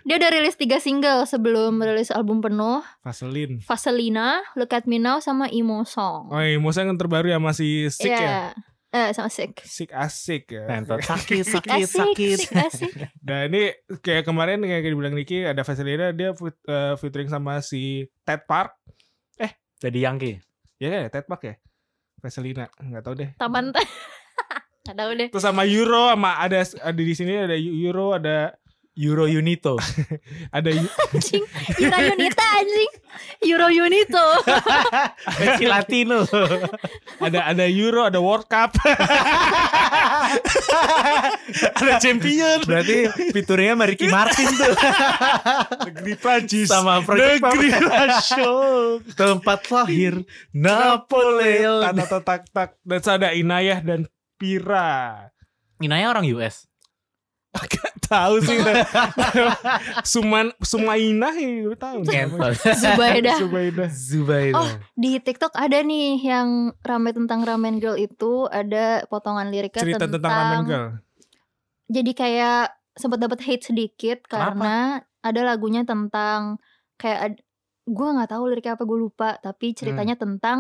S1: Dia udah rilis tiga single sebelum rilis album penuh.
S3: Vaseline
S1: Vaselina, Look at Me Now, sama Emo Song.
S3: oh iya Musa yang terbaru ya masih sick ya
S1: Iya. Eh, sama Sick.
S3: sick asik ya
S2: Ngentot sakit sakit
S1: Asik,
S2: sakit.
S1: sick, asik.
S3: nah ini kayak kemarin kayak dibilang Niki ada Vaseline dia fit- eh, featuring sama si Ted Park
S2: Jadi Yangki.
S3: ya kan ya Ted Park ya Vaseline nggak tahu deh
S1: Taman teh. Gak tau deh.
S3: Terus sama Euro sama ada ada di sini ada Euro ada
S2: Euro Unito.
S3: ada
S1: Anjing. Euro Unita anjing. Euro Unito.
S2: Peci Latino.
S3: ada ada Euro ada World Cup ada Champion
S2: Berarti fiturnya sama Ricky Martin tuh.
S3: negeri Prancis
S2: Sama Project
S3: negeri
S2: Pop.
S3: Rasyok
S2: Tempat lahir Napoleon.
S3: tata tak tak dan ada Inayah dan Pira
S2: Inaya orang US.
S3: Gak tahu sih Suman Sumainah ya gue tahu namanya.
S2: Ngentot.
S1: Zubaidah.
S3: Subaidah
S2: Zubair.
S1: Oh, Di TikTok ada nih yang rame tentang Ramen Girl itu ada potongan liriknya
S3: cerita tentang, ramen girl
S1: jadi kayak sempat dapat hate sedikit
S2: Kenapa?
S1: karena ada lagunya tentang kayak ad- gua nggak tahu liriknya apa gue lupa tapi ceritanya
S3: Hmm.
S1: tentang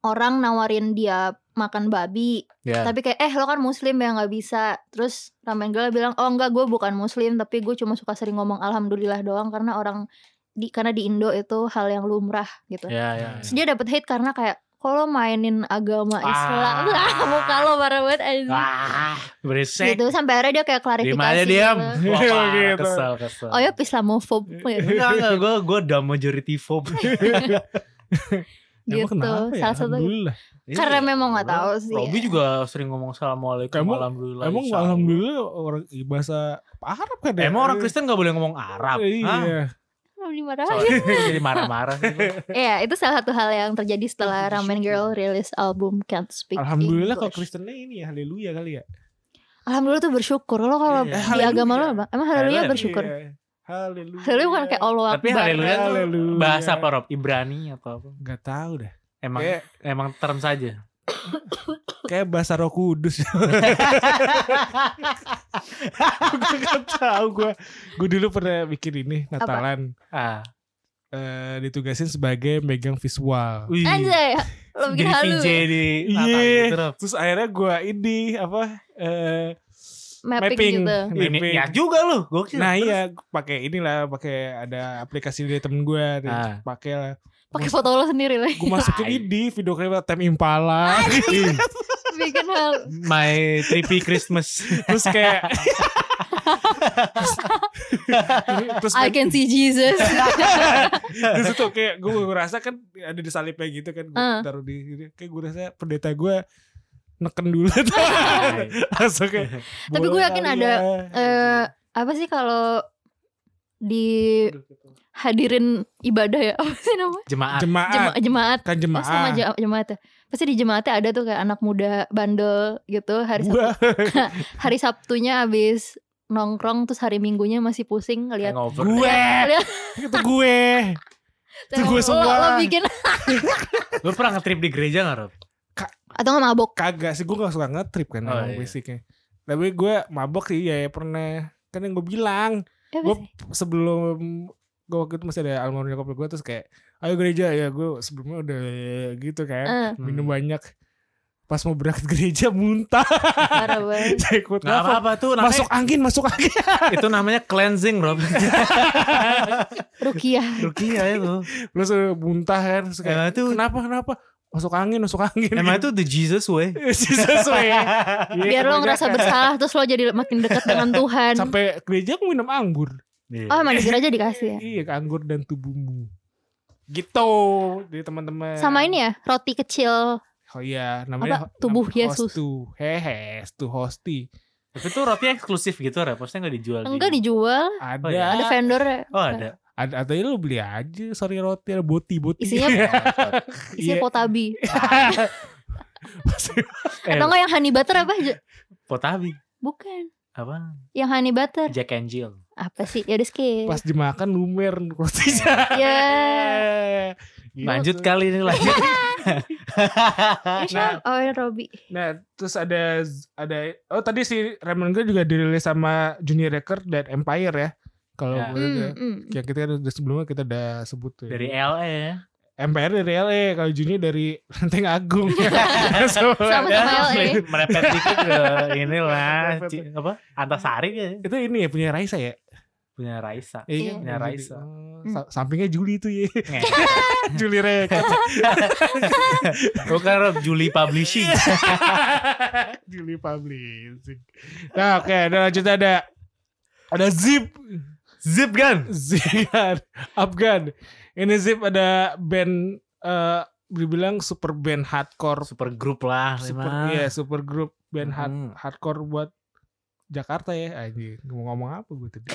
S1: orang nawarin dia makan babi
S2: Ya.
S1: tapi kayak eh lo kan muslim ya nggak bisa terus ramen girl bilang oh enggak gue bukan muslim tapi gue cuma suka sering ngomong alhamdulillah doang karena orang di karena di Indo itu hal yang lumrah gitu
S2: Ya, ya.
S1: Terus dia dapat hate karena kayak kalau mainin agama Islam
S2: Ah.
S1: lah muka lo parah banget anjing
S2: Wah, berisik.
S1: gitu sampai akhirnya dia kayak klarifikasi
S2: Diam aja diam.
S1: gitu.
S2: Wah, parah,
S3: Gitu.
S2: kesel, kesel.
S1: oh ya Islamofob gitu
S2: Enggak, enggak, gue gue udah majority phob.
S3: Emang kenapa ya
S1: Gitu. salah satu
S3: Alhamdulillah
S1: Karena memang nggak tahu sih.
S2: Iya. Robi juga sering ngomong assalamualaikum,
S3: Kamu-
S2: alhamdulillah.
S3: Emang
S2: insya Allah.
S3: alhamdulillah orang bahasa Arab kan ya?
S2: Emang orang Kristen nggak boleh ngomong Arab? Hah?
S3: Iya.
S1: Kenapa dimarahin?
S2: Soalnya jadi marah-marah. gitu.
S1: Iya itu salah satu hal yang terjadi setelah Ramen Girl rilis album Can't Speak
S3: Alhamdulillah kalau
S1: English.
S3: Kristennya ini ya haleluya kali ya.
S1: Alhamdulillah tuh bersyukur Lo kalau di
S2: Iya.
S3: Haleluya.
S1: agama lo apa? Emang haleluya
S2: Haleluya.
S1: bersyukur
S3: Iya. Haleluya.
S1: Haleluya bukan kayak Allah
S2: Tapi
S1: Akbar
S2: haleluya tuh
S3: Haleluya.
S2: bahasa apa Rob? Ibrani atau apa?
S3: Gak tahu dah.
S2: Emang
S3: Kayak
S2: emang term saja.
S3: Kayak bahasa roh kudus. gue gak tahu gue. Gue dulu pernah bikin ini Natalan.
S2: ah.
S3: Eh, ditugasin sebagai megang visual.
S2: Wih.
S1: Anjay, lo bikin
S2: Jadi
S1: halu.
S2: VJ
S1: ya?
S2: di
S3: Iya.
S2: Natal gitu, Rob.
S3: Terus akhirnya gue ini apa? Eh,
S1: Mapping, gitu.
S2: Ini
S3: mapping.
S2: ya juga lu, gokil.
S3: Iya, Nah iya pakai inilah pakai ada aplikasi dari temen gue
S2: Ah.
S3: pakai lah
S1: Pakai foto lo sendiri lah.
S3: gue
S1: Iya,
S3: masukin
S2: Ay.
S3: ini video klip Tem Impala gitu.
S1: bikin halu.
S2: My trippy Christmas.
S3: terus kayak terus
S1: I can see Jesus.
S3: terus itu kayak gue ngerasa kan ada di salibnya gitu kan gue
S1: Ah.
S3: taruh di sini kayak gue rasa pendeta gue neken dulu tuh langsung kayak
S1: Iya. Tapi gue
S3: "Boleh
S1: yakin
S3: kali
S1: ada,
S3: ya."
S1: Eh, apa sih kalau di hadirin ibadah ya apa sih namanya
S2: Jemaat.
S3: jemaat
S1: Jema- jemaat
S3: kan
S1: Oh, sama
S3: jemaat
S1: jema- jemaat ya. Pasti di jemaatnya ada tuh kayak anak muda bandel gitu hari Sabtu,
S3: gue
S1: hari Sabtunya habis nongkrong terus hari Minggunya masih pusing ngeliat
S2: Hangover.
S3: gue
S1: Lihat.
S3: itu gue itu gue
S1: Lo-
S3: semua.
S1: lo, bikin
S2: Lu pernah nge-trip di gereja gak Rob?
S1: atau nggak mabok
S3: kagak sih gue gak suka ngetrip kan
S2: Oh,
S3: emang
S2: iya.
S3: basicnya tapi gue mabok sih ya, ya pernah kan yang gue bilang
S1: Ya,
S3: gue
S1: pasti.
S3: sebelum gue waktu itu masih ada almarhum nyokap gue terus kayak ayo gereja ya gue sebelumnya udah gitu kan
S1: Eh,
S3: minum banyak pas mau berangkat gereja muntah
S1: Eh, parah banget
S3: Saya ikut
S2: Gak
S3: nafas.
S2: apa-apa tuh namanya,
S3: masuk angin masuk angin
S2: itu namanya cleansing Rob.
S1: rukiah
S3: ya
S2: Rukia itu.
S3: terus eh, muntah kan terus kayak
S2: Emang itu
S3: kenapa kenapa masuk angin masuk angin Gitu.
S2: emang itu the Jesus way.
S3: sesuai
S1: biar lo ngerasa bersalah terus lo jadi makin dekat dengan Tuhan
S3: sampai gereja aku minum anggur
S2: Iya.
S1: oh emang di gereja dikasih ya
S3: Iya, anggur dan tubuhmu. Gitu, di teman-teman.
S1: sama ini ya roti kecil
S3: Oh iya, namanya
S1: Apa? Tubuh
S3: nam-
S1: Yesus.
S3: Hostu. Hehe, hostu hosti.
S2: Tapi tuh rotinya eksklusif gitu Rob, maksudnya gak dijual. di-
S1: enggak dijual
S3: Ada.
S2: Oh iya.
S1: ada vendor
S2: Oh ada.
S3: Ada atau ya lu beli aja sorry roti ada boti boti.
S1: Isinya- isinya
S3: Iya.
S1: potabi
S3: Pasti-
S2: Eh,
S1: atau enggak yang honey butter apa aja
S2: Potabi.
S1: bukan
S2: Apa?
S1: yang honey butter
S2: Jack and Jill.
S1: apa sih ya udah skip
S3: Pas dimakan lumer rotinya.
S1: ya
S3: Gitu.
S2: Lanjut kali ini lanjut.
S1: Ini siapa? oh ini Robby
S3: Nah, terus ada ada oh tadi si Raymond gue juga dirilis sama Junior Record dan Empire ya. Kalau
S2: Ya.
S3: gue udah-
S1: Hmm, hmm.
S3: ya kita kan udah sebelumnya kita udah sebut tuh.
S2: Dari LA ya.
S3: MPR dari LA kalau Juni dari Lenteng Agung
S1: Sama-sama
S2: Ya,
S1: LA.
S2: Merepet dikit ke inilah
S3: Merepet.
S2: Ci- apa? Antasari ya.
S3: itu ini ya punya Raisa ya
S2: Punya Raisa.
S1: Iya.
S2: Punya
S3: Jadi,
S2: Raisa.
S3: oh,
S1: Hmm.
S3: sa- sampingnya Juli itu ya
S2: Nge.
S3: Juli Record
S2: Bukan Rob, Juli kan Publishing.
S3: Juli Publishing nah oke ada lanjut ada ada Zip
S2: Zip kan? Gun.
S3: Zigan Afgan ini Zip ada band eh dibilang super band hardcore
S2: Super grup lah.
S3: super Mm-hmm.
S2: memang.
S3: iya super group band hard-
S2: Hmm.
S3: hardcore buat Jakarta ya anjing mau ngomong apa gue tadi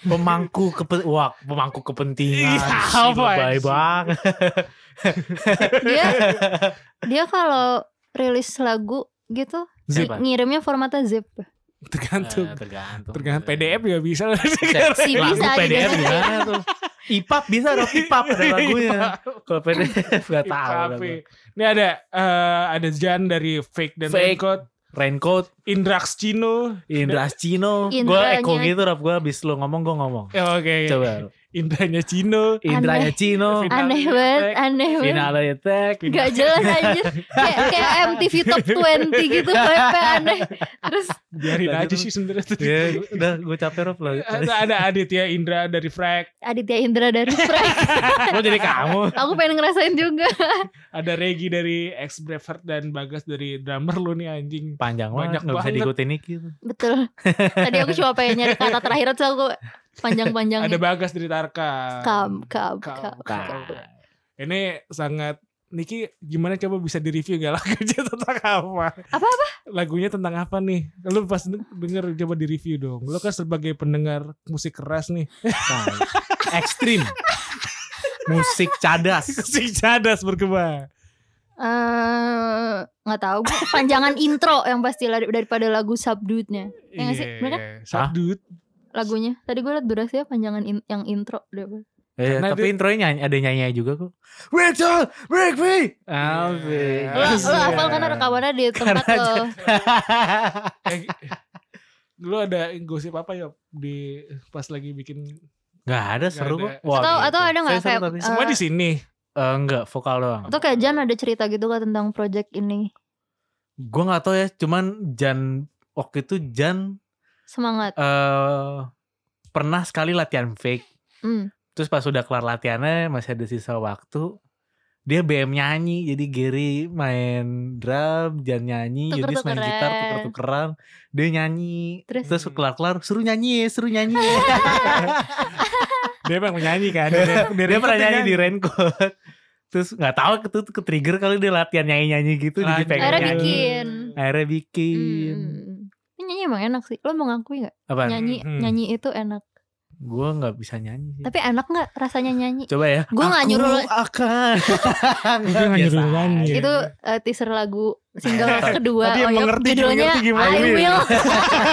S2: Pemangku kepen wah, pemangku
S3: Iya,
S2: kepentingan. Sih,
S3: apa
S2: lebay
S3: sih?
S2: banget.
S1: dia dia kalau rilis lagu gitu
S2: Zip,
S1: ng-
S2: Pak.
S1: ngirimnya formatnya zip
S3: tergantung
S2: Eh, tergantung.
S3: tergantung PDF juga bisa lah
S1: Si
S2: Lagu
S1: bisa
S2: PDF
S1: diganti.
S2: gimana tuh? IPAP bisa dong IPAP ada lagunya. Kalau PDF gak tahu. dah
S3: Tapi,
S2: gua.
S3: Iya, ini ada eh, ada Jan dari Fake dan
S2: Fake.
S3: Raincoat,
S2: Raincoat,
S3: Indrax Cino.
S2: Indra Cino. Gue
S1: Indranya.
S2: eko gitu Rob, gue abis lu ngomong gue ngomong.
S3: Eh, Oke,
S2: Coba Rob.
S3: Indranya Cino.
S2: Indranya Cino.
S3: Final
S1: aneh
S3: Attack,
S1: banget aneh banget
S2: Final Attack.
S1: Gak jelas aja kayak kayak MTV Top 20 gitu PP aneh terus
S3: Biarin
S2: Lanjut,
S3: aja sih sebenarnya tadi. Eh,
S2: Ya, udah gue capek Rob lah.
S3: Ada, ada Aditya Indra dari Frag,
S1: Aditya Indra dari Frank
S2: Gue jadi kamu.
S1: aku pengen ngerasain juga
S3: ada Regi dari Ex Braveheart dan Bagas dari drummer lu nih anjing.
S2: Panjang
S3: Banyak
S2: banget, gak bisa
S3: banget.
S2: diikutin gitu.
S1: betul tadi aku cuma pengen nyari kata terakhir terus aku panjang-panjang
S3: Ada Bagas dari Tarka.
S1: kam kam kam
S3: Kam, kam. Nah, Ini sangat Niki gimana coba bisa direview gak lagunya tentang apa?
S1: Apa-apa?
S3: Lagunya tentang apa nih? Lu pas denger coba direview dong. Lu kan sebagai pendengar musik keras nih.
S2: Nah, ekstrim. Musik cadas.
S3: Musik cadas berkembang.
S1: Eh, nggak tahu gue panjangan intro yang pasti lah daripada lagu subdued-nya Iya nggak sih? Bener
S3: Subdut.
S1: ya, lagunya tadi gue liat durasinya panjangan in- yang intro deh
S2: Eh,
S3: Karena
S2: tapi
S3: dia-
S2: intronya nyanyi, ada nyanyi juga kok. Rachel, break free.
S3: Alvin.
S1: Lo, lo
S2: Iya.
S1: hafal kan rekamannya di tempat
S2: Karena
S1: lo
S3: Eh, Lu ada gosip apa ya di pas lagi bikin
S2: Gak ada seru
S3: ada.
S2: kok. gitu.
S1: Atau, atau ada gak
S2: Saya seru
S1: kayak
S2: tapi-
S1: eh,
S3: semua di sini?
S2: enggak, vokal doang.
S1: Atau kayak Jan ada cerita gitu kan tentang project ini
S2: Gue nggak tahu ya, cuman Jan waktu itu Jan
S1: Semangat
S2: eh pernah sekali latihan fake.
S1: Hmm.
S2: Terus pas udah kelar latihannya masih ada sisa waktu. Dia BM nyanyi, jadi Gary main drum, Jan nyanyi, Yudis main gitar,
S1: Tuker-tukeran.
S2: tuker-tukeran. Dia nyanyi,
S1: Terus?
S2: terus kelar-kelar, suruh nyanyi, suruh nyanyi.
S3: Dia emang menyanyi kan.
S2: dia pernah nyanyi di raincoat. Terus nggak tahu itu ke trigger kali dia latihan nyanyi-nyanyi gitu,
S3: Lanjut.
S2: jadi pengen
S1: Akhirnya
S2: nyanyi.
S1: bikin.
S2: Akhirnya bikin.
S1: Hmm. Ini nyanyi emang enak sih Lo mau ngakui gak?
S2: Apaan?
S1: Nyanyi
S3: Hmm.
S1: nyanyi itu enak
S2: Gue nggak bisa nyanyi. sih.
S1: Tapi enak gak rasanya nyanyi?
S2: Coba ya.
S1: Gue gak
S2: Aku
S1: nyuruh lo-
S2: akan.
S3: Dia nggak nyuruh
S2: Biasa
S3: nyanyi.
S2: aja.
S3: Iya.
S1: Itu eh, teaser lagu single
S2: Tapi-
S1: kedua
S2: tapi yang
S1: Oh, iya.
S2: mengerti,
S1: Judulnya
S2: mengerti gimana
S1: I
S2: Iya. ini?
S1: Will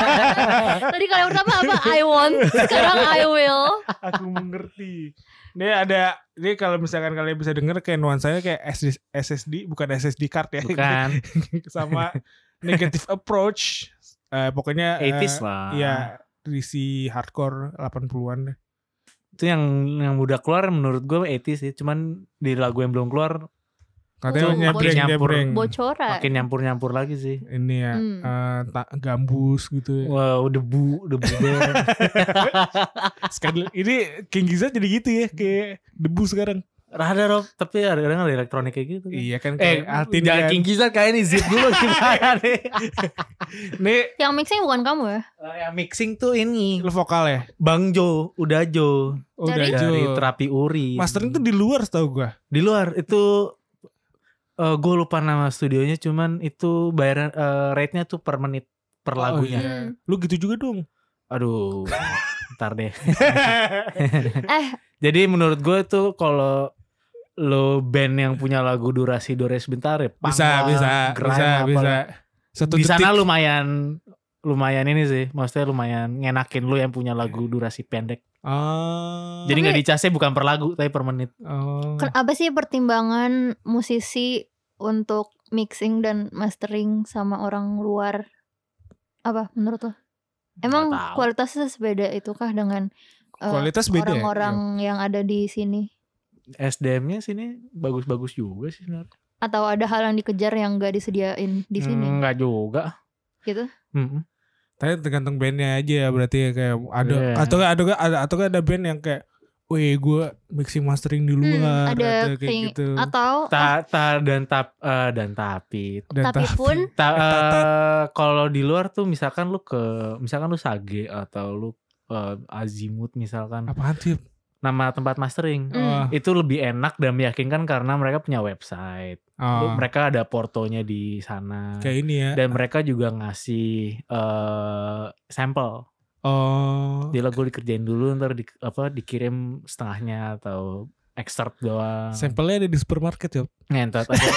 S1: Tadi kalau yang pertama apa? I Want Sekarang I Will
S3: Aku mengerti. Dia ada dia kalau misalkan kalian bisa denger kayak nuansanya kayak SSD, SSD bukan SSD card ya.
S2: Bukan.
S3: Sama negative approach. Eh, pokoknya eh,
S2: 80s lah.
S3: Iya, risi hardcore 80-an.
S2: Itu yang yang udah keluar menurut gue 80s sih. Cuman di lagu yang belum keluar
S3: Katanya
S1: Oh,
S3: nyebreng
S2: makin
S3: nyebreng.
S1: Bocoran
S2: Hmm. makin nyampur-nyampur lagi sih.
S3: Ini ya,
S1: Hmm.
S3: eh, ta- gambus gitu. ya.
S2: Wow, debu, debu.
S3: Sekali ini King Giza jadi gitu ya, kayak debu sekarang.
S2: Rada Rob, tapi ada kadang ada elektronik kayak gitu. kan.
S3: Iya kan kayak
S2: Eh,
S3: Altin
S2: jangan
S3: kan.
S2: kingkisan kayak ini zip dulu gimana nih?
S3: Nih
S1: Yang mixing bukan kamu ya?
S2: Eh, yang mixing tuh ini
S3: lu vokal ya? Oh,
S2: Bang Jo, udah Jo
S3: Udah
S1: Dari-
S3: Jo.
S2: dari terapi uri.
S3: Mastering tuh di luar tau gua.
S2: di luar itu eh gue lupa nama studionya cuman itu bayaran eh, rate-nya tuh per menit per lagunya.
S3: iya. Lu gitu juga dong.
S2: Aduh, ntar deh.
S1: Eh
S2: Jadi menurut gue tuh kalau lo band yang punya lagu durasi durasi sebentar ya punk
S3: bisa,
S2: lah,
S3: bisa,
S2: grime
S3: bisa,
S2: apa
S3: bisa.
S2: lah.
S3: Satu
S2: Di sana
S3: detik.
S2: lumayan lumayan ini sih, maksudnya lumayan ngenakin lu yang punya
S3: Iya.
S2: lagu durasi pendek.
S3: Ah.
S2: Jadi nggak
S1: Tapi-
S2: dicasnya bukan per lagu tapi per menit.
S3: Oh.
S1: Ken- apa sih pertimbangan musisi untuk mixing dan mastering sama orang luar apa menurut lo? Emang
S2: Nggak tahu.
S1: kualitasnya sebeda itukah dengan eh,
S3: Kualitas beda ya?
S2: iya.
S1: orang-orang yang ada di sini
S2: SDM-nya sini bagus-bagus juga sih sebenarnya.
S1: atau ada hal yang dikejar yang gak disediain di sini?
S2: Enggak juga.
S1: Gitu?
S2: Mm-mm.
S3: Tapi tergantung bandnya aja ya berarti ya, kayak ada
S2: Iya.
S3: atau nggak- ada nggak- ada atau nggak ada band yang kayak, wih gue mixing mastering di luar,
S1: Hmm, ada
S3: ada, kayak
S1: keingi-
S3: gitu.
S1: Atau eh,
S2: Hmm. Ta, ta dan tap eh, dan tapi
S3: Dan
S1: tapi
S3: ta-
S1: pun
S2: Ta-
S3: Eh, ta-
S2: eh, kalau di luar tuh misalkan lu ke misalkan lu Sage atau lu eh, Azimut misalkan
S3: apaan sih?
S2: nama tempat mastering
S1: Hmm.
S3: Oh,
S2: itu lebih enak dan meyakinkan karena mereka punya website. Lu-
S3: oh,
S2: mereka ada portonya di sana
S3: kayak ini ya.
S2: dan mereka juga ngasih eh, sampel.
S3: Oh,
S2: Jadi lagu dikerjain dulu ntar di, apa dikirim setengahnya atau excerpt doang.
S3: sampelnya ada di supermarket ya.
S2: Ngentot aja.